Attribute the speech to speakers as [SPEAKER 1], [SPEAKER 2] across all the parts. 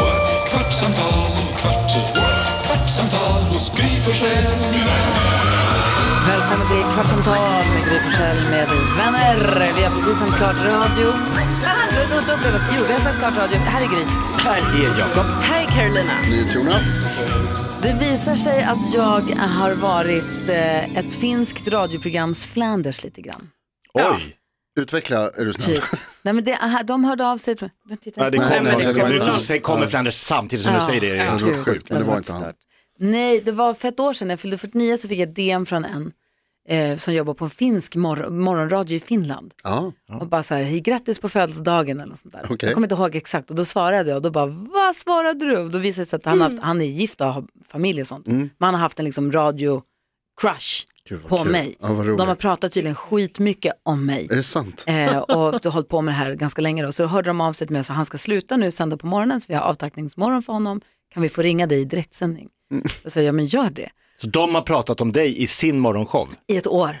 [SPEAKER 1] what? kvartsamtal, kvart, what? kvartsamtal hos Gry Forssell med vänner.
[SPEAKER 2] Välkommen till Kvartsamtal med Gry Forssell med vänner. Vi har precis sänt klart radio. Ah, det är inte upplevelse. Jo, vi har sänt klart radio. Här är Gry.
[SPEAKER 3] Här är Jakob.
[SPEAKER 2] Här är Carolina.
[SPEAKER 4] Jonas.
[SPEAKER 2] Det visar sig att jag har varit eh, ett finskt radioprograms Flanders lite grann.
[SPEAKER 5] Oj! Utveckla är du snäll.
[SPEAKER 2] Typ. Nej, men det, ah, de hörde av sig till mig. Titta,
[SPEAKER 3] Ja, det
[SPEAKER 2] nej,
[SPEAKER 3] kommer,
[SPEAKER 2] men
[SPEAKER 3] det
[SPEAKER 2] det kom-
[SPEAKER 3] kommer, det kommer Flanders samtidigt som du säger det.
[SPEAKER 2] ja,
[SPEAKER 3] Det
[SPEAKER 5] var
[SPEAKER 2] gud,
[SPEAKER 5] sjukt, men det var
[SPEAKER 2] har
[SPEAKER 5] inte
[SPEAKER 2] varit
[SPEAKER 5] han.
[SPEAKER 2] stört. Nej, det var för ett år sedan, när jag fyllde 49, så fick jag ett DM från en eh, som jobbar på en finsk mor- morgonradio i Finland.
[SPEAKER 5] Ja,
[SPEAKER 2] Och bara så här, hej grattis på födelsedagen eller något sånt där.
[SPEAKER 5] Okej.
[SPEAKER 2] Jag kommer inte ihåg exakt och då svarade jag och då bara, vad svarade du? Och då visade det sig att han, har haft, han är gift och har familj och sånt. Men han har haft en liksom radio crush
[SPEAKER 5] Mm. Gud, vad
[SPEAKER 2] på
[SPEAKER 5] kul.
[SPEAKER 2] mig.
[SPEAKER 5] Ja, vad roligt.
[SPEAKER 2] de har pratat tydligen skitmycket om mig.
[SPEAKER 5] är det sant?
[SPEAKER 2] Eh, och du har hållit på med det här ganska länge då. Så då hörde de av sig till mig och sa, han ska sluta nu sända på morgonen så vi har avtackningsmorgon för honom. Kan vi få ringa dig i direktsändning?
[SPEAKER 5] Mm.
[SPEAKER 2] Då sa jag, ja men gör det.
[SPEAKER 3] Så de har pratat om dig i sin morgonshow.
[SPEAKER 2] I ett år.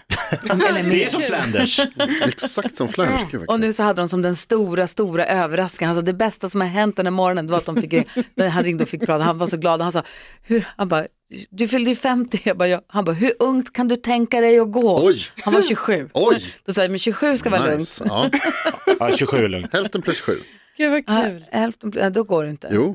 [SPEAKER 2] Eller
[SPEAKER 3] Det
[SPEAKER 2] mer.
[SPEAKER 3] är som Flanders.
[SPEAKER 5] Exakt som Flanders. Gud, vad
[SPEAKER 2] Och
[SPEAKER 5] kul.
[SPEAKER 2] nu så hade de som den stora, stora överraskningen. Han sa det bästa som har hänt den här morgonen det var att de fick ringa. Han ringde och fick prata. Han var så glad. Han sa, hur? Han bara, du fyllde ju 50. Jag bara, ja. Han bara, hur ungt kan du tänka dig att gå?
[SPEAKER 5] Oj.
[SPEAKER 2] Han var 27.
[SPEAKER 5] Oj.
[SPEAKER 2] Då sa jag, men 27 ska vara
[SPEAKER 5] Nice. Ja.
[SPEAKER 3] Ja, 27 är lugnt.
[SPEAKER 5] Hälften plus sju.
[SPEAKER 6] Gud vad kul.
[SPEAKER 2] lugnt. Ah, hälften, nej, då går det inte.
[SPEAKER 5] Jo.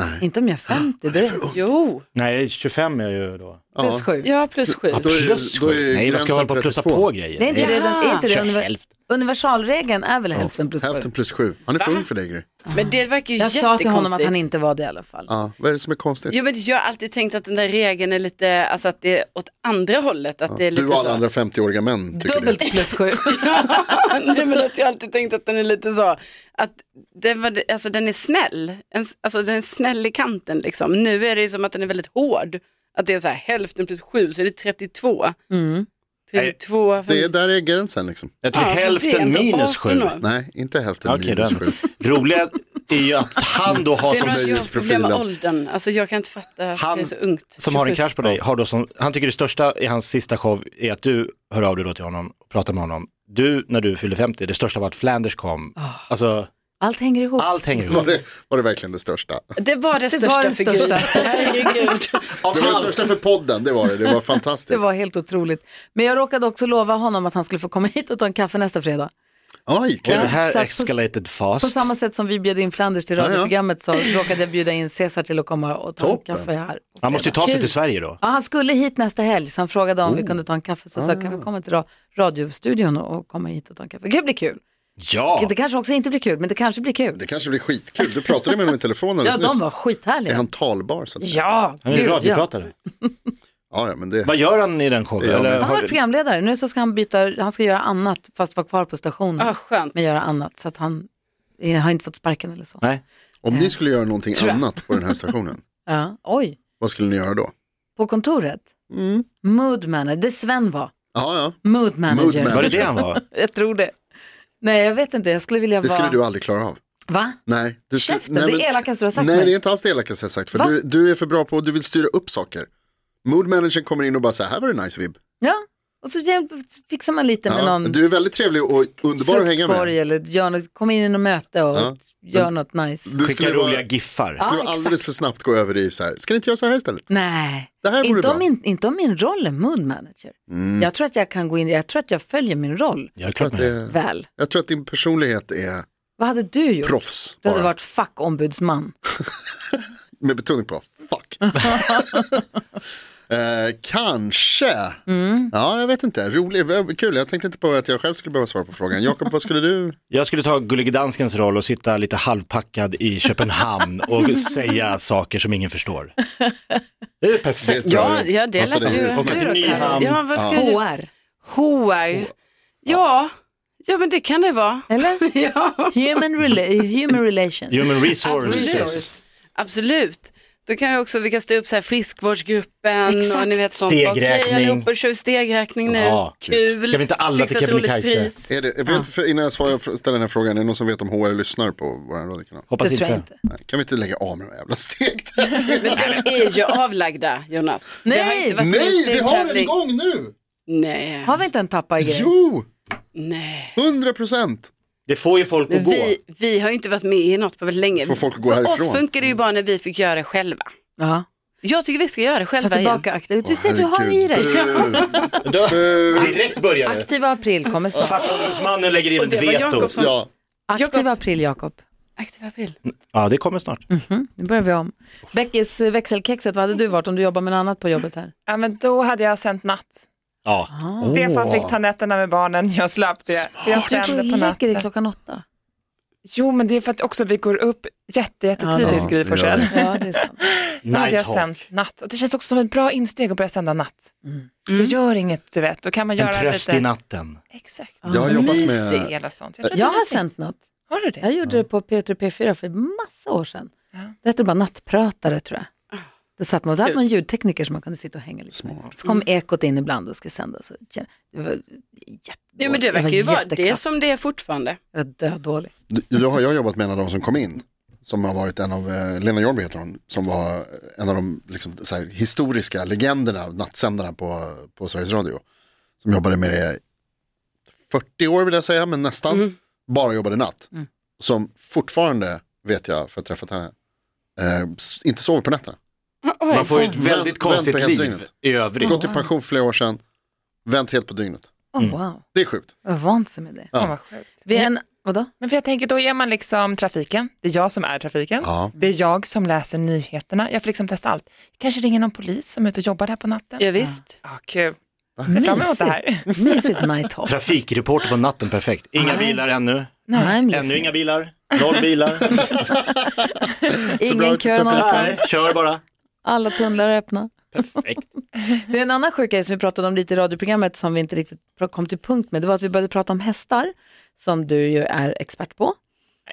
[SPEAKER 5] Ah, Nej.
[SPEAKER 2] Inte om jag är 50. Det är
[SPEAKER 6] Jo.
[SPEAKER 3] Nej, 25 är ju då.
[SPEAKER 2] plus sju.
[SPEAKER 6] Ja, plus sju.
[SPEAKER 5] Då är-
[SPEAKER 3] Plus
[SPEAKER 5] då är
[SPEAKER 3] sju. Nej, vad ska jag hålla på och plussa
[SPEAKER 5] 32?
[SPEAKER 3] på
[SPEAKER 2] Det är
[SPEAKER 3] grejer?
[SPEAKER 2] inte det, den, är inte det
[SPEAKER 3] Kör
[SPEAKER 2] univer,
[SPEAKER 3] hälften.
[SPEAKER 2] universalregeln är väl hälften plus sju?
[SPEAKER 5] Hälften plus sju. Han är för ung för det, Gry.
[SPEAKER 6] Men det verkar ju
[SPEAKER 2] Jag sa till honom att han
[SPEAKER 6] jättekonstigt.
[SPEAKER 2] inte var det i alla fall.
[SPEAKER 5] Ja. Vad är det som är konstigt?
[SPEAKER 6] Jo men jag har alltid tänkt att den där regeln är lite, alltså att det är åt andra hållet. Att det är lite
[SPEAKER 5] Du och
[SPEAKER 6] så.
[SPEAKER 5] alla andra 50-åriga män tycker
[SPEAKER 2] Dubbelt
[SPEAKER 5] det.
[SPEAKER 2] plus sju.
[SPEAKER 6] Nej men att jag alltid tänkt att den är lite så, att den, var, alltså, den är snäll, en, alltså den är snäll i kanten liksom. Nu är det ju som att den är väldigt hård, att det är så här hälften plus sju så är det 32.
[SPEAKER 2] Mm.
[SPEAKER 6] 32,
[SPEAKER 5] Det är, där är gränsen liksom.
[SPEAKER 3] Jag tror
[SPEAKER 6] Ja, fast det är
[SPEAKER 3] hälften
[SPEAKER 6] ändå
[SPEAKER 3] minus
[SPEAKER 6] 18
[SPEAKER 3] 7.
[SPEAKER 6] år.
[SPEAKER 5] Nej, inte hälften
[SPEAKER 3] Okej,
[SPEAKER 5] minus
[SPEAKER 3] den.
[SPEAKER 5] sju.
[SPEAKER 3] Roliga är ju att han då har
[SPEAKER 6] Det är
[SPEAKER 3] som,
[SPEAKER 6] något
[SPEAKER 5] nöjes-
[SPEAKER 6] jag problem med
[SPEAKER 5] profilen.
[SPEAKER 6] åldern, alltså jag kan inte fatta att
[SPEAKER 3] Han
[SPEAKER 6] det är så ungt. Typ.
[SPEAKER 3] som har en
[SPEAKER 6] 27.
[SPEAKER 3] crush på dig, har då som, han tycker det största i hans sista show är att du hör av dig då till honom och pratar med honom. Du, när du fyllde 50, det största var att Flanders kom. Alltså,
[SPEAKER 2] Allt hänger ihop.
[SPEAKER 3] allt hänger ihop.
[SPEAKER 5] Var det, var det verkligen det största?
[SPEAKER 6] Det var det
[SPEAKER 2] Det
[SPEAKER 6] största
[SPEAKER 2] var det
[SPEAKER 6] för Gud.
[SPEAKER 2] största.
[SPEAKER 6] Herregud.
[SPEAKER 5] Det var det största för podden, det var det. Det var
[SPEAKER 2] Det
[SPEAKER 5] fantastiskt.
[SPEAKER 2] var helt otroligt. Men jag råkade också lova honom att han skulle få komma hit och ta en kaffe nästa fredag.
[SPEAKER 5] Oj,
[SPEAKER 3] Och det
[SPEAKER 5] kul.
[SPEAKER 3] här
[SPEAKER 2] exakt.
[SPEAKER 3] escalated
[SPEAKER 2] På
[SPEAKER 3] fast.
[SPEAKER 2] samma sätt som vi bjöd in Flanders till
[SPEAKER 5] Ja, ja.
[SPEAKER 2] radioprogrammet så råkade jag bjuda in Cesar till att komma och ta
[SPEAKER 5] Toppen.
[SPEAKER 2] en kaffe här. på
[SPEAKER 3] Han måste ju ta sig
[SPEAKER 6] Kul.
[SPEAKER 3] till Sverige Oh. då.
[SPEAKER 2] Ja, han skulle hit nästa helg så han frågade om vi kunde ta en kaffe.
[SPEAKER 3] Ah.
[SPEAKER 2] Så sa jag, kan vi komma till ra- radiostudion och och komma hit och ta en kaffe. Det blir kul.
[SPEAKER 3] Ja,
[SPEAKER 2] Det kanske också inte blir kul, men det kanske blir kul.
[SPEAKER 5] Det kanske blir skitkul. Du pratade med honom i telefon
[SPEAKER 2] Ja,
[SPEAKER 5] alldeles
[SPEAKER 2] de var
[SPEAKER 5] nyss. Är
[SPEAKER 2] skithärliga.
[SPEAKER 5] han talbar? Så att säga?
[SPEAKER 2] Ja,
[SPEAKER 3] han är ju
[SPEAKER 2] gud, ja.
[SPEAKER 3] radiopratare.
[SPEAKER 5] Ja, ja, men det...
[SPEAKER 3] Vad gör han i den showen?
[SPEAKER 5] Ja,
[SPEAKER 3] Eller
[SPEAKER 2] Han har
[SPEAKER 3] har
[SPEAKER 2] varit
[SPEAKER 3] du...
[SPEAKER 2] programledare. Nu så ska han byta, han ska göra annat fast vara kvar på stationen.
[SPEAKER 6] Ah, skönt.
[SPEAKER 2] Men göra annat så att han eh, har inte fått sparken eller så.
[SPEAKER 3] Nej.
[SPEAKER 5] Om ni skulle göra någonting annat på den här stationen,
[SPEAKER 2] Ja, oj.
[SPEAKER 5] vad skulle ni göra då?
[SPEAKER 2] På kontoret?
[SPEAKER 5] Mm.
[SPEAKER 2] Mood manager, det Sven var.
[SPEAKER 5] Ja, ja.
[SPEAKER 2] Mood manager.
[SPEAKER 5] Mood man-
[SPEAKER 3] Var det det han var?
[SPEAKER 2] Jag tror det. Nej, jag vet inte. Jag skulle vilja
[SPEAKER 5] Det skulle
[SPEAKER 2] vara...
[SPEAKER 5] du aldrig klara av.
[SPEAKER 2] Va?
[SPEAKER 5] Nej, du skulle-
[SPEAKER 2] Käften, det är elakaste du har sagt
[SPEAKER 5] Nej,
[SPEAKER 2] mig.
[SPEAKER 5] det är inte alls det elakaste jag har sagt. För
[SPEAKER 2] Va?
[SPEAKER 5] du, du är för bra på att du vill styra upp saker. Mood managern kommer in och bara så här, här var det nice vibb.
[SPEAKER 2] Ja, och så hjälp- fixar man lite med
[SPEAKER 5] Ja,
[SPEAKER 2] någon
[SPEAKER 5] Du är väldigt trevlig och underbar att hänga
[SPEAKER 2] fruktkorg
[SPEAKER 5] med.
[SPEAKER 2] eller gör något, kom in i något möte och
[SPEAKER 5] Ja.
[SPEAKER 2] gör något nice.
[SPEAKER 5] Du
[SPEAKER 3] Skicka
[SPEAKER 5] skulle, vara,
[SPEAKER 3] roliga
[SPEAKER 5] skulle
[SPEAKER 3] giffar.
[SPEAKER 2] Ja,
[SPEAKER 5] vara alldeles
[SPEAKER 2] exakt.
[SPEAKER 5] för snabbt gå över i så här, ska ni inte göra så här istället?
[SPEAKER 2] Nej,
[SPEAKER 5] Det här vore
[SPEAKER 2] inte om,
[SPEAKER 5] bra. Mm.
[SPEAKER 2] min, inte om min roll är mood manager. Jag tror att jag kan gå in, jag tror att jag följer min roll
[SPEAKER 3] Jag är
[SPEAKER 5] Jag
[SPEAKER 3] klart
[SPEAKER 5] tror,
[SPEAKER 3] med
[SPEAKER 5] att
[SPEAKER 3] det.
[SPEAKER 5] det,
[SPEAKER 2] väl.
[SPEAKER 5] jag tror att din personlighet är
[SPEAKER 2] Vad hade du gjort?
[SPEAKER 5] proffs.
[SPEAKER 2] Du hade
[SPEAKER 5] Bara,
[SPEAKER 2] varit fackombudsman.
[SPEAKER 5] Med betoning på fuck. eh, kanske.
[SPEAKER 6] Mm.
[SPEAKER 5] Ja, jag vet inte. Rolig, v- kul. Jag tänkte inte på att jag själv skulle behöva svara på frågan. Jakob, vad skulle du?
[SPEAKER 3] Jag skulle ta Gullige Danskens roll och sitta lite halvpackad i Köpenhamn och säga saker som ingen förstår. Det är
[SPEAKER 5] Det är
[SPEAKER 3] perfekt.
[SPEAKER 5] ett bra
[SPEAKER 6] Ja,
[SPEAKER 5] ord.
[SPEAKER 6] ja, det
[SPEAKER 5] Passar
[SPEAKER 6] lät
[SPEAKER 5] dig.
[SPEAKER 6] ju...
[SPEAKER 3] Åka till Nyhamn.
[SPEAKER 6] Ja, vad ska jag göra?
[SPEAKER 2] HR,
[SPEAKER 6] HR. Ja. ja, men det kan det vara.
[SPEAKER 2] eller?
[SPEAKER 6] Ja.
[SPEAKER 2] Human, rela- human relations.
[SPEAKER 3] Human resources.
[SPEAKER 2] Resource.
[SPEAKER 6] Absolut. Då kan jag också, vi kan stå upp så här friskvårdsgruppen och
[SPEAKER 2] Exakt.
[SPEAKER 6] ni vet sånt.
[SPEAKER 3] Stegräkning.
[SPEAKER 6] Okej allihopa, kör vi stegräkning nu.
[SPEAKER 3] Ja,
[SPEAKER 6] Kul.
[SPEAKER 3] Ska vi inte alla
[SPEAKER 6] Fixa
[SPEAKER 3] till
[SPEAKER 6] ett roligt
[SPEAKER 3] Kebnekaise?
[SPEAKER 6] pris.
[SPEAKER 5] Är det, jag vet, för innan jag svarar, ställer den här frågan, är det någon som vet om HR lyssnar på vår radiokanal?
[SPEAKER 3] Hoppas
[SPEAKER 2] Det tror jag
[SPEAKER 3] inte.
[SPEAKER 2] inte.
[SPEAKER 5] Nej, kan vi inte lägga av med de här jävla steg?
[SPEAKER 6] Men de är ju avlagda Jonas. Det har
[SPEAKER 2] Nej.
[SPEAKER 6] inte varit någon
[SPEAKER 5] Nej, vi har en
[SPEAKER 6] stegtävling.
[SPEAKER 5] gång nu!
[SPEAKER 6] Nej,
[SPEAKER 2] Har vi inte en tappa i grej?
[SPEAKER 5] Jo,
[SPEAKER 6] nej.
[SPEAKER 5] 100 procent.
[SPEAKER 3] Det får ju folk att
[SPEAKER 6] Men
[SPEAKER 3] gå.
[SPEAKER 6] vi, vi har ju inte varit med i något på väldigt länge.
[SPEAKER 5] Får folk gå
[SPEAKER 6] För
[SPEAKER 5] härifrån?
[SPEAKER 6] oss funkar det ju bara när vi fick göra det själva.
[SPEAKER 2] Ja.
[SPEAKER 6] Jag tycker vi ska göra det
[SPEAKER 2] Ta
[SPEAKER 6] själva igen.
[SPEAKER 2] tillbaka aktiva. Du ser, du har i dig.
[SPEAKER 3] Då- Direkt börjar det.
[SPEAKER 2] Aktiva april kommer snart.
[SPEAKER 3] Fackföreningsmannen lägger in
[SPEAKER 6] Och det
[SPEAKER 3] ett
[SPEAKER 6] var
[SPEAKER 3] veto.
[SPEAKER 6] Jakobsson.
[SPEAKER 5] Ja,
[SPEAKER 2] Aktiva april, Jakob.
[SPEAKER 6] Aktiv april.
[SPEAKER 5] Mm.
[SPEAKER 3] Ja, det kommer snart.
[SPEAKER 2] Nu börjar vi om. Beckis eh, växelkexet, vad hade du varit om du jobbar med något annat på jobbet här?
[SPEAKER 7] Ja, men då hade jag sänt natt.
[SPEAKER 3] Ja.
[SPEAKER 7] Mm. Stefan fick ta nätterna med barnen, jag slapp det. För Jag
[SPEAKER 2] Du går
[SPEAKER 7] sände
[SPEAKER 2] och
[SPEAKER 7] på
[SPEAKER 2] lägger dig
[SPEAKER 7] natten.
[SPEAKER 2] klockan åtta.
[SPEAKER 7] Jo, men det är för att också vi går upp jätte, jättetidigt,
[SPEAKER 5] Ja,
[SPEAKER 7] Gry
[SPEAKER 5] det gör
[SPEAKER 7] Forssell.
[SPEAKER 5] vi.
[SPEAKER 2] Ja, det är sant.
[SPEAKER 7] Då hade jag
[SPEAKER 3] Nighthawk.
[SPEAKER 7] sänt natt. Och det känns också som ett bra insteg att börja sända natt.
[SPEAKER 6] Mm.
[SPEAKER 7] Det gör inget, du vet. Då kan man
[SPEAKER 3] En
[SPEAKER 7] göra
[SPEAKER 3] tröst
[SPEAKER 7] lite...
[SPEAKER 3] i natten.
[SPEAKER 7] Exakt.
[SPEAKER 5] jag har jobbat med...
[SPEAKER 7] Mysig. Sånt. Jag, tror
[SPEAKER 2] Jag
[SPEAKER 7] att det är
[SPEAKER 2] har
[SPEAKER 7] mysigt.
[SPEAKER 2] sänt något.
[SPEAKER 7] Har du det?
[SPEAKER 2] Jag gjorde det på P3 P4 för massa år sedan. Det hette bara nattpratare tror jag. Det satt man, då hade man ljudtekniker som man kunde sitta och hänga lite med. Så kom ekot in ibland och skulle sända. Så kände- det var jätte-
[SPEAKER 6] Ja, men det
[SPEAKER 2] jag
[SPEAKER 6] verkar ju vara det är
[SPEAKER 2] jättekass.
[SPEAKER 6] som det är fortfarande.
[SPEAKER 2] Jag var dödålig.
[SPEAKER 5] Jag har jag har jobbat med en av de som kom in. Som har varit en av, eh, Lena Jornby heter hon, som var en av de liksom, så här, historiska legenderna, nattsändarna på, på Sveriges Radio. Som jobbade med det i 40 år vill jag säga, men nästan. Bara jobbade natt. Som fortfarande, vet jag, för jag har träffat henne, eh, s- inte sover på nätterna.
[SPEAKER 3] Man får ju ett
[SPEAKER 5] Vänt-
[SPEAKER 3] väldigt
[SPEAKER 5] vänt
[SPEAKER 3] konstigt
[SPEAKER 5] på helt
[SPEAKER 3] liv
[SPEAKER 5] dygnet.
[SPEAKER 3] i övrigt.
[SPEAKER 5] Gått i pension för flera år sedan, vänt helt på dygnet.
[SPEAKER 2] Oh,
[SPEAKER 3] Mm.
[SPEAKER 2] wow,
[SPEAKER 5] Det är sjukt.
[SPEAKER 2] jag har vant sig med det.
[SPEAKER 7] Fan, vad sjukt.
[SPEAKER 2] Vi är en, vadå?
[SPEAKER 7] Men för jag tänker, då är man liksom trafiken. Det är jag som är trafiken.
[SPEAKER 5] Ja.
[SPEAKER 7] Det är jag som läser nyheterna. Jag får liksom testa allt. Kanske ringer någon polis som är ute och jobbar där på natten.
[SPEAKER 6] Ja, visst.
[SPEAKER 7] Ja, kul. Ser fram emot det här.
[SPEAKER 2] Mysigt night hawk.
[SPEAKER 3] Trafikreporter på natten, perfekt. Inga bilar ännu.
[SPEAKER 2] I'm
[SPEAKER 3] Ännu
[SPEAKER 2] listening.
[SPEAKER 3] inga bilar. Noll bilar.
[SPEAKER 2] Ingen
[SPEAKER 5] ut
[SPEAKER 2] kö
[SPEAKER 5] i trafiken.
[SPEAKER 2] någonstans.
[SPEAKER 3] Nej, Kör bara.
[SPEAKER 2] Alla tunnlar är öppna.
[SPEAKER 3] Perfekt.
[SPEAKER 2] Det är en annan sjuk grej som vi pratade om lite i radioprogrammet som vi inte riktigt kom till punkt med. Det var att vi började prata om hästar, som du ju är expert på.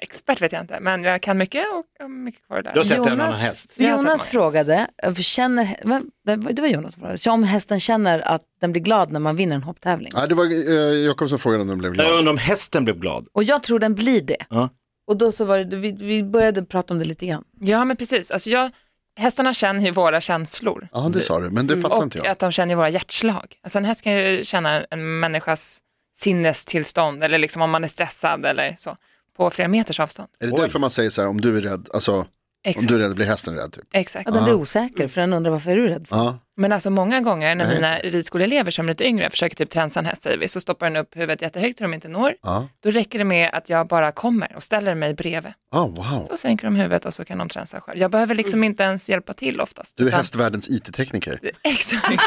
[SPEAKER 7] Expert vet jag inte, men jag kan mycket och jag har mycket kvar där.
[SPEAKER 3] Du har sett en annan häst.
[SPEAKER 7] Jag har sett
[SPEAKER 2] Jonas
[SPEAKER 7] många.
[SPEAKER 2] frågade, eh, känner, vem- det var det var Jonas som frågade, om hästen känner att den blir glad när man vinner en hopptävling.
[SPEAKER 5] Nej, det var eh, Jakob som frågade om den blev
[SPEAKER 3] Jag
[SPEAKER 5] glad.
[SPEAKER 3] undrar om hästen blev glad.
[SPEAKER 2] Och jag tror den blir det.
[SPEAKER 3] Ja.
[SPEAKER 2] Och då så var det, vi, vi började prata om det lite grann.
[SPEAKER 7] Ja, men precis. Alltså jag, hästarna känner ju våra känslor.
[SPEAKER 5] Ja, det sa du, men det fattar inte
[SPEAKER 7] Och
[SPEAKER 5] jag.
[SPEAKER 7] att de känner ju våra hjärtslag. Alltså en häst kan ju känna en människas sinnestillstånd eller liksom om man är stressad eller så på flera meters avstånd.
[SPEAKER 5] Är det därför man säger så här, om du är rädd, alltså om
[SPEAKER 7] Exakt.
[SPEAKER 5] du är rädd blir hästen rädd typ? Ah.
[SPEAKER 7] Exakt.
[SPEAKER 2] Ja, den blir osäker för den undrar varför är du rädd? För?
[SPEAKER 5] Ja,
[SPEAKER 7] Men alltså många gånger när mina ridskoleelever som är lite yngre försöker typ tränsa en häst säger vi, så stoppar den upp huvudet jättehögt så de inte når.
[SPEAKER 5] ja,
[SPEAKER 7] Då räcker det med att jag bara kommer och ställer mig bredvid.
[SPEAKER 5] ja, Ah, wow.
[SPEAKER 7] Då sänker de huvudet och så kan de tränsa själv. Jag behöver liksom inte ens hjälpa till oftast.
[SPEAKER 5] Mm. Du är
[SPEAKER 7] utan-
[SPEAKER 5] hästvärldens IT-tekniker.
[SPEAKER 7] Exakt.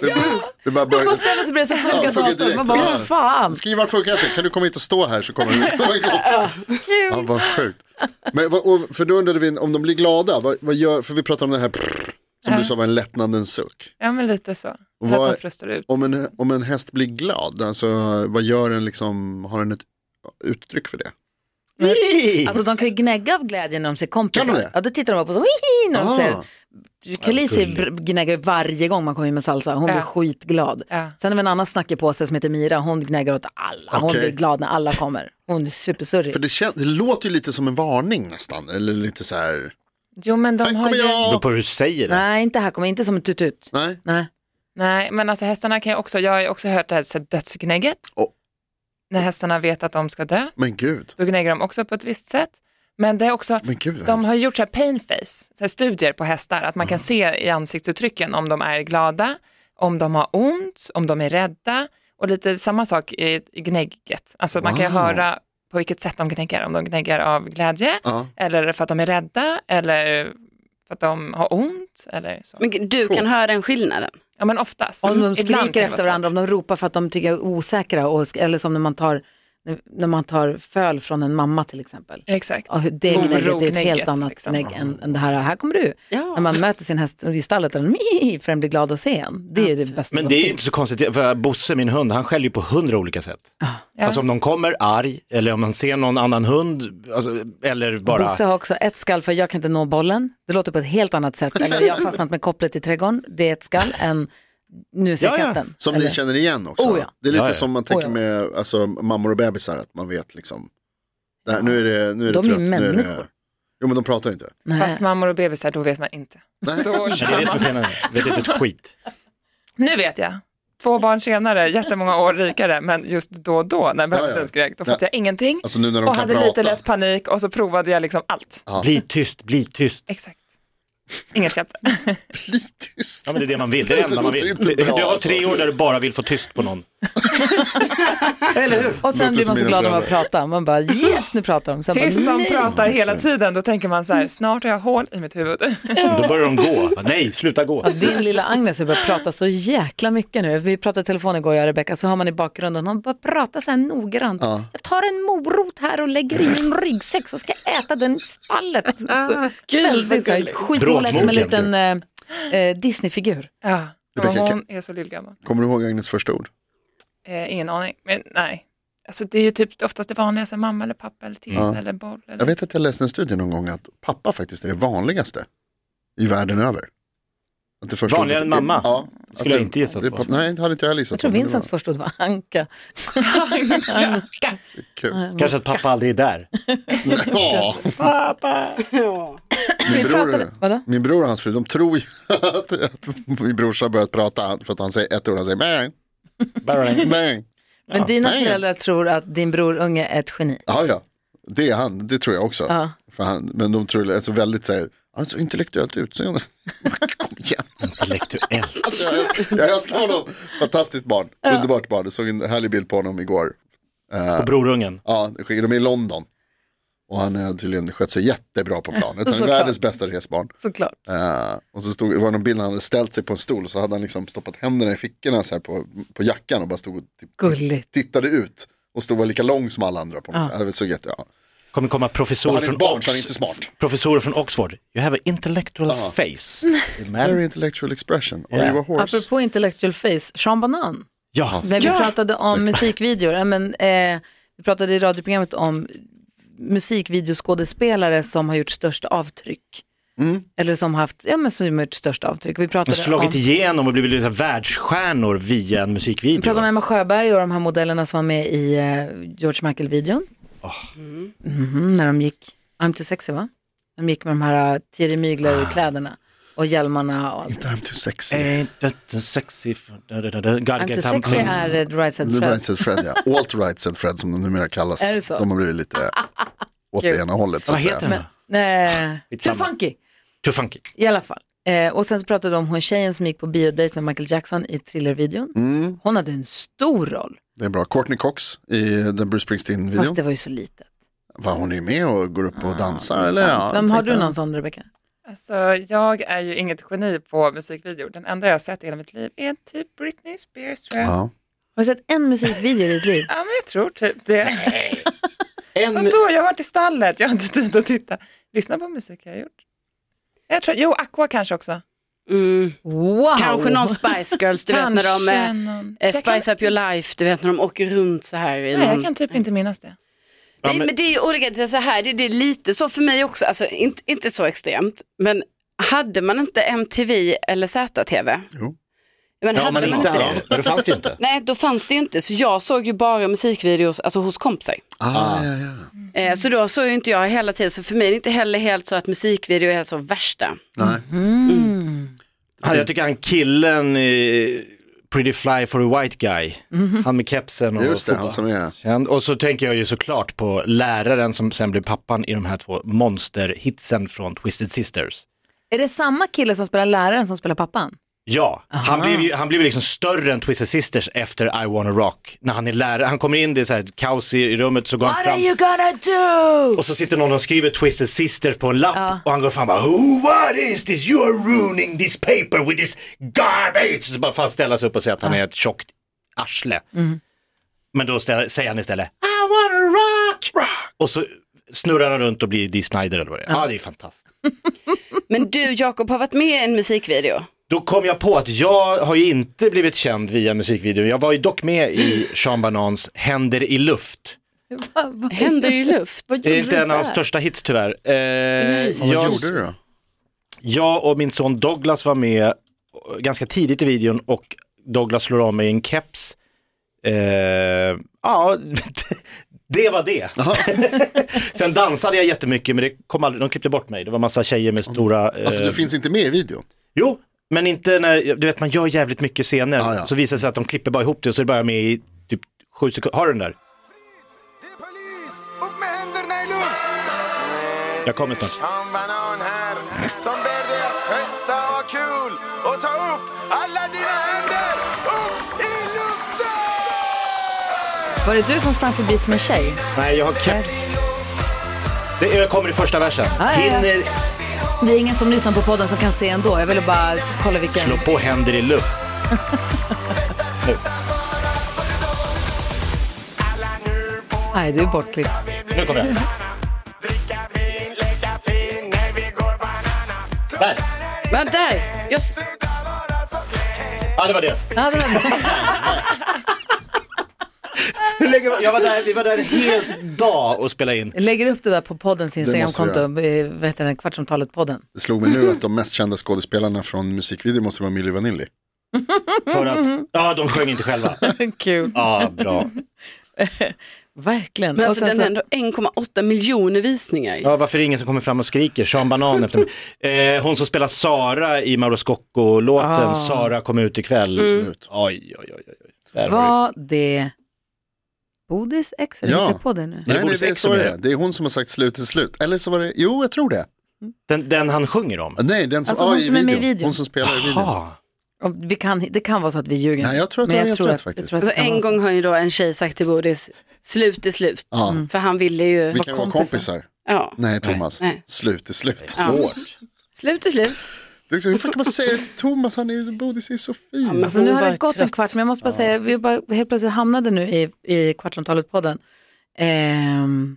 [SPEAKER 5] Det, det bara
[SPEAKER 2] Då
[SPEAKER 5] börjar...
[SPEAKER 2] ställer sig bredvid så
[SPEAKER 5] Ja,
[SPEAKER 2] funkar
[SPEAKER 5] funkar
[SPEAKER 2] datorn. Man
[SPEAKER 5] direkt.
[SPEAKER 2] bara,
[SPEAKER 5] Ja.
[SPEAKER 2] "Vad fan.
[SPEAKER 5] Skriv vart funkar inte, kan du komma hit och stå här så kommer du komma igång. Ja, vad sjukt. Men, vad- och, för då undrade vi om de blir glada, vad, vad gör, för vi pratade om den här prrr, som du sa var en lättnadens suck.
[SPEAKER 7] Ja men lite så. Så
[SPEAKER 5] Vad-
[SPEAKER 7] att de frustar ut.
[SPEAKER 5] Om en, om en häst blir glad, alltså, vad gör den liksom, har den ett uttryck för det?
[SPEAKER 2] Alltså de kan ju gnägga av glädje när de ser kompisar.
[SPEAKER 5] Kan de det?
[SPEAKER 2] ja, då tittar de upp och så, "Hihi", när de
[SPEAKER 5] Ah.
[SPEAKER 2] ser. Kalisi gnäggar varje gång man kommer in med salsa, hon blir
[SPEAKER 7] Ja.
[SPEAKER 2] skitglad.
[SPEAKER 7] Ja.
[SPEAKER 2] Sen har vi en annan snackig på sig som heter Mira, hon gnäggar åt alla. Hon
[SPEAKER 5] Okej.
[SPEAKER 2] blir glad när alla kommer. Hon är supersurrig.
[SPEAKER 5] För det, kän, det låter ju lite som en varning nästan, eller lite så här,
[SPEAKER 7] Jo men de
[SPEAKER 5] här
[SPEAKER 7] har
[SPEAKER 5] kommer
[SPEAKER 7] ju...
[SPEAKER 3] Beror
[SPEAKER 5] jag.
[SPEAKER 3] på hur du säger det.
[SPEAKER 2] Nej, inte här kommer inte som en tutut.
[SPEAKER 5] Nej,
[SPEAKER 2] Nej.
[SPEAKER 7] Nej men alltså hästarna kan ju också, jag har ju också hört det här så här dödsgnägget.
[SPEAKER 5] Åh.
[SPEAKER 7] När hästarna vet att de ska dö,
[SPEAKER 5] men gud.
[SPEAKER 7] då gnägger de också på ett visst sätt. Men det är också,
[SPEAKER 5] Men gud, vad
[SPEAKER 7] de
[SPEAKER 5] hemskt.
[SPEAKER 7] har ju gjort så här pain face, så här studier på hästar, att man kan se i ansiktsuttrycken om de är glada, om de har ont, om de är rädda och lite samma sak i i gnägget. Alltså man kan ju
[SPEAKER 5] Wow.
[SPEAKER 7] höra på vilket sätt de gnäggar, om de gnäggar av glädje
[SPEAKER 5] Ja.
[SPEAKER 7] eller för att de är rädda eller för att de har ont eller så.
[SPEAKER 6] Men du kan höra den skillnaden.
[SPEAKER 7] Ja men oftast.
[SPEAKER 2] Om de
[SPEAKER 7] Ibland kan det
[SPEAKER 2] skriker
[SPEAKER 7] vara
[SPEAKER 2] efter
[SPEAKER 7] svårt.
[SPEAKER 2] varandra, om de ropar för att de tycker är osäkra och, sk- eller som när man tar när, när man tar föl från en mamma till exempel.
[SPEAKER 7] Exakt.
[SPEAKER 2] Ja, hur det gnägget är ett helt
[SPEAKER 7] Orognägget,
[SPEAKER 2] annat
[SPEAKER 7] liksom.
[SPEAKER 2] gnägg än, än det här, här kommer du.
[SPEAKER 6] Ja.
[SPEAKER 2] När man möter sin häst i stallet och den "Mii", för den blir glad att se en. Det är ju det bästa
[SPEAKER 3] Men
[SPEAKER 2] som
[SPEAKER 3] det är ju
[SPEAKER 2] finns.
[SPEAKER 3] inte så konstigt, för Bosse, min hund, han skäller ju på hundra olika sätt. Alltså om någon kommer arg, eller om man ser någon annan hund, alltså, eller bara...
[SPEAKER 2] Bosse har också ett skall för jag kan inte nå bollen. Det låter på ett helt annat sätt. Eller jag har fastnat med kopplet i trädgården. Det är ett skall än nu ser
[SPEAKER 3] Ja, ja.
[SPEAKER 2] katten.
[SPEAKER 5] Som
[SPEAKER 2] Eller-
[SPEAKER 5] ni känner igen också.
[SPEAKER 2] Oh, ja.
[SPEAKER 5] Det är lite
[SPEAKER 3] Ja, ja.
[SPEAKER 5] som man tänker
[SPEAKER 2] Oh, ja.
[SPEAKER 5] med alltså, mammor och bebisar, att man vet liksom. Det här, nu är det, nu är det
[SPEAKER 2] De är
[SPEAKER 5] trött, nu är
[SPEAKER 2] människor.
[SPEAKER 5] det... Jo men de pratar ju inte.
[SPEAKER 2] Nej.
[SPEAKER 7] Fast mammor och bebisar, då vet man inte. Då
[SPEAKER 3] Men det är det som är skillnaden, vet inte ett skit.
[SPEAKER 7] Nu vet jag. Två barn senare, jättemånga år rikare, men just då och då när bebisen
[SPEAKER 5] Ja, ja.
[SPEAKER 7] skrek, då fattade
[SPEAKER 5] Ja.
[SPEAKER 7] jag ingenting
[SPEAKER 5] Alltså nu när de
[SPEAKER 7] och
[SPEAKER 5] kan
[SPEAKER 7] hade
[SPEAKER 5] prata.
[SPEAKER 7] lite lätt panik och så provade jag liksom allt.
[SPEAKER 3] Bli tyst, bli tyst.
[SPEAKER 7] Exakt. Inget hjälpte.
[SPEAKER 5] Bli tyst.
[SPEAKER 3] Ja men det är det man vill, det är det enda man
[SPEAKER 5] Det
[SPEAKER 3] vill.
[SPEAKER 5] låter inte
[SPEAKER 3] Du
[SPEAKER 5] bra,
[SPEAKER 3] har tre år där du bara vill få tyst på någon. Eller hur?
[SPEAKER 2] Och sen
[SPEAKER 5] Låter
[SPEAKER 2] blir
[SPEAKER 5] som
[SPEAKER 2] man så
[SPEAKER 5] mina
[SPEAKER 2] glad om att
[SPEAKER 5] föräldrar.
[SPEAKER 2] prata. Man bara yes, nu pratar de. Sen
[SPEAKER 7] Tills
[SPEAKER 2] bara,
[SPEAKER 7] de
[SPEAKER 2] "Nej."
[SPEAKER 7] pratar hela tiden, då tänker man så här, snart har jag hål i mitt huvud.
[SPEAKER 3] Då börjar de gå. Nej, sluta gå.
[SPEAKER 2] Ja, din lilla Agnes har börjat prata så jäkla mycket nu. Vi pratade i telefon igår jag och Rebecka, så har man i bakgrunden, hon bara pratar så här noggrant. Jag tar en morot här och lägger i min ryggsäck så ska jag äta den i stallet. Alltså, Så, väldigt så här, skitolät som en
[SPEAKER 3] Bråkmogen.
[SPEAKER 2] liten eh, eh, Disney-figur.
[SPEAKER 7] Ja. Och
[SPEAKER 5] Rebecca,
[SPEAKER 7] hon
[SPEAKER 5] kan-
[SPEAKER 7] är så lillgammal.
[SPEAKER 5] Kommer du ihåg Agnes första ord?
[SPEAKER 7] Eh, ingen aning, men nej. Alltså det är ju typ oftast det vanliga, så här, mamma eller pappa eller titta
[SPEAKER 5] Ja.
[SPEAKER 7] eller boll. Eller...
[SPEAKER 5] Jag vet att jag läste en studie någon gång att pappa faktiskt är det vanligaste i världen över. Att det första
[SPEAKER 3] Vanligare
[SPEAKER 5] ordet-
[SPEAKER 3] än mamma?
[SPEAKER 5] Ja.
[SPEAKER 3] Skulle
[SPEAKER 5] Att det-
[SPEAKER 3] jag inte gissat
[SPEAKER 5] det är
[SPEAKER 3] på.
[SPEAKER 5] pappa- Nej, det hade inte jag gissat
[SPEAKER 2] Jag tror
[SPEAKER 5] på, men det
[SPEAKER 2] Vincents
[SPEAKER 5] var
[SPEAKER 2] första ord var Anka. Anka.
[SPEAKER 5] kul.
[SPEAKER 3] Kanske att pappa aldrig är där.
[SPEAKER 5] Ja.
[SPEAKER 6] Ja.
[SPEAKER 5] Min bror,
[SPEAKER 2] pratade- vadå?
[SPEAKER 5] min bror och hans fru, de tror ju att, att min brorsa har börjat prata för att han säger ett ord, han säger bang,
[SPEAKER 3] Bara-
[SPEAKER 5] bang.
[SPEAKER 2] Men dina
[SPEAKER 5] nej.
[SPEAKER 2] föräldrar tror att din bror unge är ett geni.
[SPEAKER 5] Ja, ja, det är han, det tror jag också.
[SPEAKER 2] Ja.
[SPEAKER 5] För han, men de tror alltså väldigt så här, han har så intellektuellt utseende. Kom igen.
[SPEAKER 3] Intellektuell.
[SPEAKER 5] Alltså, jag, älskar, jag älskar honom, fantastiskt barn, underbart barn. Jag såg en härlig bild på honom igår.
[SPEAKER 3] Och brorungen.
[SPEAKER 5] Ja, det sker- de är i London. Och han har tydligen skött sig jättebra på planet. Han är
[SPEAKER 2] Såklart.
[SPEAKER 5] världens bästa resbarn.
[SPEAKER 2] Såklart.
[SPEAKER 5] Eh, och så stod, var det någon bild när han hade ställt sig på en stol så hade han liksom stoppat händerna i fickorna så här på, på jackan och bara stod och typ
[SPEAKER 2] Gulligt.
[SPEAKER 5] tittade ut och stod och var lika lång som alla andra på något sätt. Det såg jätte, ja.
[SPEAKER 3] Kommer komma
[SPEAKER 5] Och
[SPEAKER 3] professorer
[SPEAKER 5] han är
[SPEAKER 3] från,
[SPEAKER 5] ett barn så han är
[SPEAKER 3] Ox-
[SPEAKER 5] inte smart. Ah.
[SPEAKER 3] professorer från Oxford. You have an intellectual face.
[SPEAKER 5] Very
[SPEAKER 3] Man.
[SPEAKER 5] intellectual expression, are
[SPEAKER 3] Yeah.
[SPEAKER 5] you a horse?
[SPEAKER 2] Apropå intellectual face, Sean Banan.
[SPEAKER 3] Ja,
[SPEAKER 2] När vi pratade om musikvideor, ja, men, eh, vi pratade i radioprogrammet om musikvideoskådespelare som har gjort störst avtryck.
[SPEAKER 5] Mm.
[SPEAKER 2] Eller som haft, ja men som gjort störst avtryck. Vi pratade om,
[SPEAKER 3] slagit igenom och blivit lite världsstjärnor via en
[SPEAKER 2] vi pratade om
[SPEAKER 3] musikvideo.
[SPEAKER 2] Emma Sjöberg och de här modellerna som var med i eh, George Michael-videon. Mhm, när de gick, I'm too sexy va? De gick med de här eh, Thierry Mygler-kläderna och hjälmarna och allt.
[SPEAKER 5] I'm too sexy.
[SPEAKER 3] Ain't that the Eh, sexy... for- da, da, da, da. Gotta
[SPEAKER 2] I'm too
[SPEAKER 3] get
[SPEAKER 2] sexy
[SPEAKER 3] something.
[SPEAKER 2] är eh, The Right Said
[SPEAKER 5] The
[SPEAKER 2] Fred.
[SPEAKER 5] right said Fred, ja. Alt right said Fred som de numera kallas.
[SPEAKER 2] Är det så?
[SPEAKER 5] De har blivit lite åt det ena hållet. Så
[SPEAKER 3] Vad
[SPEAKER 5] att
[SPEAKER 3] heter
[SPEAKER 5] säga.
[SPEAKER 3] den?
[SPEAKER 2] Nej, Too
[SPEAKER 3] Skitsamma.
[SPEAKER 2] funky.
[SPEAKER 3] Too funky.
[SPEAKER 2] I alla fall. Eh, och sen så pratade de om hon tjejen som gick på biodejt med Michael Jackson i thrillervideon. Hon hade en stor roll,
[SPEAKER 5] Det är bra. Courtney Cox i den Bruce Springsteen-videon.
[SPEAKER 2] fast det var ju så litet.
[SPEAKER 5] Va, hon är med och går
[SPEAKER 3] Ah,
[SPEAKER 5] upp och dansar eller? Ja,
[SPEAKER 2] Vem har
[SPEAKER 5] tänkte
[SPEAKER 2] du
[SPEAKER 5] jag.
[SPEAKER 2] någon sån Rebecca?
[SPEAKER 7] Alltså, jag är ju inget geni på musikvideor. Den enda jag har sett i hela mitt liv är typ Britney Spears tror jag. Ja,
[SPEAKER 5] Ja.
[SPEAKER 2] Har du sett en musikvideo i ditt liv?
[SPEAKER 7] men jag tror typ det.
[SPEAKER 3] En,
[SPEAKER 7] Vadå, jag har varit i stallet, jag har inte tid att titta. Lyssna på musik jag har gjort. Jag tror, jo, Aqua kanske också.
[SPEAKER 6] Mm.
[SPEAKER 2] Wow!
[SPEAKER 6] Kanske någon Spice Girls, du vet när de
[SPEAKER 7] Kanske
[SPEAKER 6] eh,
[SPEAKER 7] någon-
[SPEAKER 6] eh,
[SPEAKER 7] Jag kan-
[SPEAKER 6] Spice Up Your Life, du vet när de åker runt så här. I
[SPEAKER 7] Nej,
[SPEAKER 6] någon...
[SPEAKER 7] jag kan typ inte minnas det.
[SPEAKER 3] Ja,
[SPEAKER 6] Nej,
[SPEAKER 3] men-
[SPEAKER 6] men det är ju olika, det är så här, det, det är lite så för mig också, alltså inte, inte så extremt, men hade man inte MTV eller ZTV?
[SPEAKER 5] Jo.
[SPEAKER 6] Men
[SPEAKER 3] ja,
[SPEAKER 6] hade
[SPEAKER 3] men
[SPEAKER 6] man
[SPEAKER 3] inte
[SPEAKER 6] inte
[SPEAKER 3] han.
[SPEAKER 6] det?
[SPEAKER 3] Men det fanns det ju inte.
[SPEAKER 6] Nej, då fanns det ju inte, så jag såg ju bara musikvideos alltså, hos kompisar.
[SPEAKER 5] Ah, ja, ja.
[SPEAKER 6] Eh, så då såg ju inte jag hela tiden, så för mig är det inte heller helt så att musikvideo är så värsta.
[SPEAKER 5] Nej.
[SPEAKER 3] Ah. Han, jag tycker han killen i Pretty Fly for a White Guy, han med kepsen och
[SPEAKER 5] Mhm. Just det,
[SPEAKER 3] fotboll.
[SPEAKER 5] han som är.
[SPEAKER 3] Känd. Och så tänker jag ju såklart på läraren som sen blev pappan i de här två monsterhitsen från Twisted Sisters.
[SPEAKER 2] Är det samma kille som spelar läraren som spelar pappan?
[SPEAKER 3] Ja, han blev, ju, han blev liksom större än Twisted Sisters efter I wanna rock. När han är lärare, han kommer in, det är så här kaos i i rummet, så går han fram
[SPEAKER 2] gonna do?
[SPEAKER 3] och så sitter någon och skriver Twisted Sisters på en lapp och han går fram och bara "Who, What is this? You are ruining this paper with this garbage! Så bara fan
[SPEAKER 2] Mm.
[SPEAKER 3] ställa sig upp och säga att han är ett tjockt arsle. Men då ställer, säger han istället I Och så snurrar han runt och blir Dee Snider eller vad det är. Ja, det är fantastiskt.
[SPEAKER 6] Men du Jakob har varit med i en musikvideo.
[SPEAKER 3] Då kom jag på att jag har ju inte blivit känd via musikvideon. Jag var ju dock med i Sean Banans Händer i luft.
[SPEAKER 6] Händer i luft.
[SPEAKER 3] Det är inte en av hans största hits tyvärr. Eh,
[SPEAKER 5] Vad
[SPEAKER 3] jag,
[SPEAKER 5] gjorde du då?
[SPEAKER 3] jag och min son Douglas var med ganska tidigt i videon och Douglas slår av mig en keps. Eh, ja, det var det. Sen dansade jag jättemycket men det kom aldrig, de klippte bort mig. Det var massa tjejer med stora... Eh,
[SPEAKER 5] Alltså du finns inte med i videon?
[SPEAKER 3] Jo, men inte när, du vet man gör jävligt mycket scener.
[SPEAKER 5] Ja, ja.
[SPEAKER 3] Så visar det sig att de klipper bara ihop det och så är det bara med i typ sju sekunder. Har du den där?
[SPEAKER 8] Det är polis! Upp med händerna i luft!
[SPEAKER 3] Jag kommer snart.
[SPEAKER 8] Sean Banan här, som ber dig att festa och ha kul och ta upp alla dina händer upp i luften!
[SPEAKER 2] Var det du som sprang förbi som en tjej?
[SPEAKER 3] Nej, jag har keps. Det, jag kommer i första versen.
[SPEAKER 2] ja, ja.
[SPEAKER 3] Hinner
[SPEAKER 2] Det är ingen som lyssnar på podden som kan se ändå. Jag ville bara kolla vilken.
[SPEAKER 3] slå på händer i luft.
[SPEAKER 8] Alla nu på
[SPEAKER 2] Nej, du är bortklippt.
[SPEAKER 3] Nu kommer jag.
[SPEAKER 8] dricka vin, leka fin när vi går banana.
[SPEAKER 3] Där.
[SPEAKER 6] Va, där. Jag, s-
[SPEAKER 8] Sluta vara så fräck.
[SPEAKER 3] Ja, det var det.
[SPEAKER 2] Ja, det var det.
[SPEAKER 3] Hur länge var, jag var där, vi var där en hel dag och spelade in.
[SPEAKER 2] Jag lägger upp det där på poddens Instagramkonto,
[SPEAKER 5] Det
[SPEAKER 2] eh, vad heter den, Kvartsamtalet-podden.
[SPEAKER 5] Det slog mig nu att de mest kända skådespelarna från musikvideon måste vara Milli Vanilli.
[SPEAKER 3] För att, ja de sjöng inte själva.
[SPEAKER 2] Kul.
[SPEAKER 3] Ja, bra.
[SPEAKER 2] Verkligen.
[SPEAKER 6] men
[SPEAKER 2] Och
[SPEAKER 6] alltså,
[SPEAKER 2] sen
[SPEAKER 6] den
[SPEAKER 2] så-
[SPEAKER 6] har ändå 1,8 miljoner visningar.
[SPEAKER 3] Ja, varför är det ingen som kommer fram och skriker? Sean Banan efter mig. Eh, hon som spelar Sara i Mauro Scocco-låten, Sara kom ut ikväll. Oj, oj, oj. oj. Där har du.
[SPEAKER 2] Var det Bodis ex? Jag
[SPEAKER 5] Ja.
[SPEAKER 2] hittar på det nu.
[SPEAKER 5] Nej,
[SPEAKER 3] borde
[SPEAKER 5] nej, det, är
[SPEAKER 3] sex
[SPEAKER 5] så
[SPEAKER 3] med
[SPEAKER 5] det,
[SPEAKER 3] det.
[SPEAKER 5] är. det är hon som har sagt slut till slut. Eller så var det, jo jag tror det.
[SPEAKER 3] Den, den han sjunger om?
[SPEAKER 5] Nej, den som,
[SPEAKER 2] Alltså,
[SPEAKER 5] ja,
[SPEAKER 2] hon
[SPEAKER 5] i
[SPEAKER 2] som är med i
[SPEAKER 5] videon.
[SPEAKER 2] videon.
[SPEAKER 5] Hon som spelar i videon.
[SPEAKER 3] Jaha.
[SPEAKER 2] Om Vi kan, det kan vara så att vi ljuger.
[SPEAKER 5] Nej, jag tror att
[SPEAKER 2] Men
[SPEAKER 5] det var- jag tror
[SPEAKER 2] att-
[SPEAKER 5] att faktiskt.
[SPEAKER 2] tror att
[SPEAKER 6] Alltså,
[SPEAKER 2] det kan
[SPEAKER 6] en
[SPEAKER 2] vara så.
[SPEAKER 6] gång har ju då en tjej sagt till Bodis, slut är slut.
[SPEAKER 5] Ja.
[SPEAKER 6] För han ville ju,
[SPEAKER 5] Vi kan vara kompisar.
[SPEAKER 6] ja,
[SPEAKER 5] Nej, Thomas.
[SPEAKER 6] Nej.
[SPEAKER 5] Slut är slut.
[SPEAKER 6] Ja. slut är slut.
[SPEAKER 5] Det är liksom, hur fan kan man säga att Thomas, han är ju, Bodis är så fin.
[SPEAKER 6] men-
[SPEAKER 2] Alltså, nu
[SPEAKER 6] Hon
[SPEAKER 2] har
[SPEAKER 6] var
[SPEAKER 2] det gått en
[SPEAKER 6] trött.
[SPEAKER 2] kvart, men jag måste bara säga, vi bara helt plötsligt hamnade nu i, i Kvartsamtalet-podden. Ehm,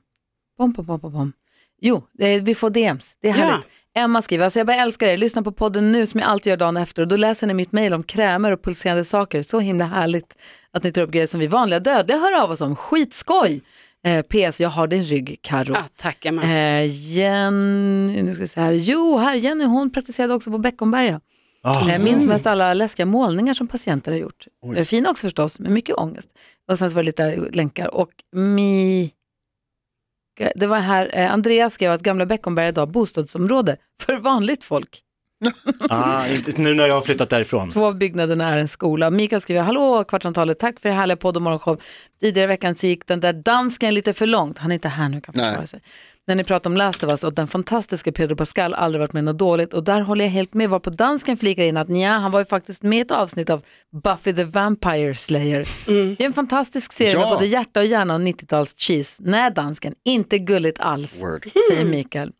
[SPEAKER 2] bom, bom, bom, bom, bom. Jo, eh, vi får DMs, det är
[SPEAKER 6] Ja.
[SPEAKER 2] härligt. Emma skriver, alltså jag bara älskar er, lyssna på podden nu som jag alltid gör dagen efter och då läser ni mitt mejl om krämer och pulserande saker, så himla härligt att ni tar upp grejer som vi vanliga dödliga hör av oss om, skitskoj! Eh, PS, jag har din rygg Karo.
[SPEAKER 6] Ja, tack Emma.
[SPEAKER 2] Eh, Jenny, nu ska vi se här. Jo, här Jenny, hon praktiserade också på Beckomberga.
[SPEAKER 3] Ah.
[SPEAKER 2] Eh, minns
[SPEAKER 3] Mm.
[SPEAKER 2] mest alla läskiga målningar som patienter har gjort. Eh, fina också förstås, men mycket ångest. Och sen så var det lite länkar. Och Mi... Det var här, eh, Andreas skrev att gamla Beckomberga idag är bostadsområde för vanligt folk.
[SPEAKER 3] Ah, inte- nu när jag har flyttat därifrån.
[SPEAKER 2] Två av byggnaderna är en skola. Mikael skriver, hallå kvartsamtalet, tack för er härliga podd och morgonshow. Tidigare i veckan så gick den där dansken lite för långt, han är inte här nu kan försvara sig. När ni pratar om Last of Us och den fantastiska Pedro Pascal aldrig varit med något dåligt och där håller jag helt med var på dansken flikar in att nja, han var ju faktiskt med i ett avsnitt av Buffy the Vampire Slayer. Det är en fantastisk serie med
[SPEAKER 5] Ja.
[SPEAKER 2] både hjärta och hjärna och 90-tals cheese. Nej dansken, inte gulligt alls,
[SPEAKER 5] Word.
[SPEAKER 2] säger Mikael.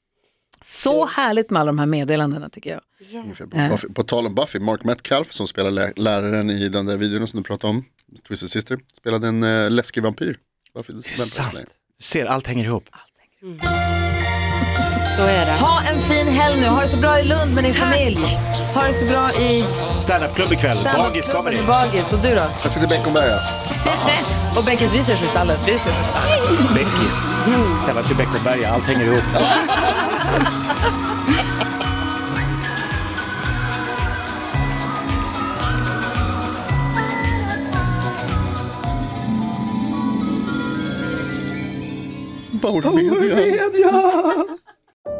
[SPEAKER 2] Så härligt med alla de här meddelandena tycker jag.
[SPEAKER 5] Ungefär. Buffy, på tal om Buffy, Mark Metcalf som spelar lä- läraren i den där videon som du pratade om, Twisted Sister, spelade en eh, läskig vampyr. Buffy, det
[SPEAKER 3] Det är sant. Du ser, allt hänger ihop.
[SPEAKER 6] Så är det.
[SPEAKER 2] Ha en fin helg nu. Ha det så bra i Lund med din familj. Ha det så bra i
[SPEAKER 3] Standupklubb ikväll, Bagis
[SPEAKER 2] standupklubben i
[SPEAKER 3] comedy.
[SPEAKER 2] Bagis. Och du då?
[SPEAKER 5] Jag sitter i Beckomberga.
[SPEAKER 2] och Beckis, vi ses i stallet. Vi ses i stallet.
[SPEAKER 3] Beckis. Kallas ju Beckomberga, allt hänger ihop.
[SPEAKER 5] Bormedia.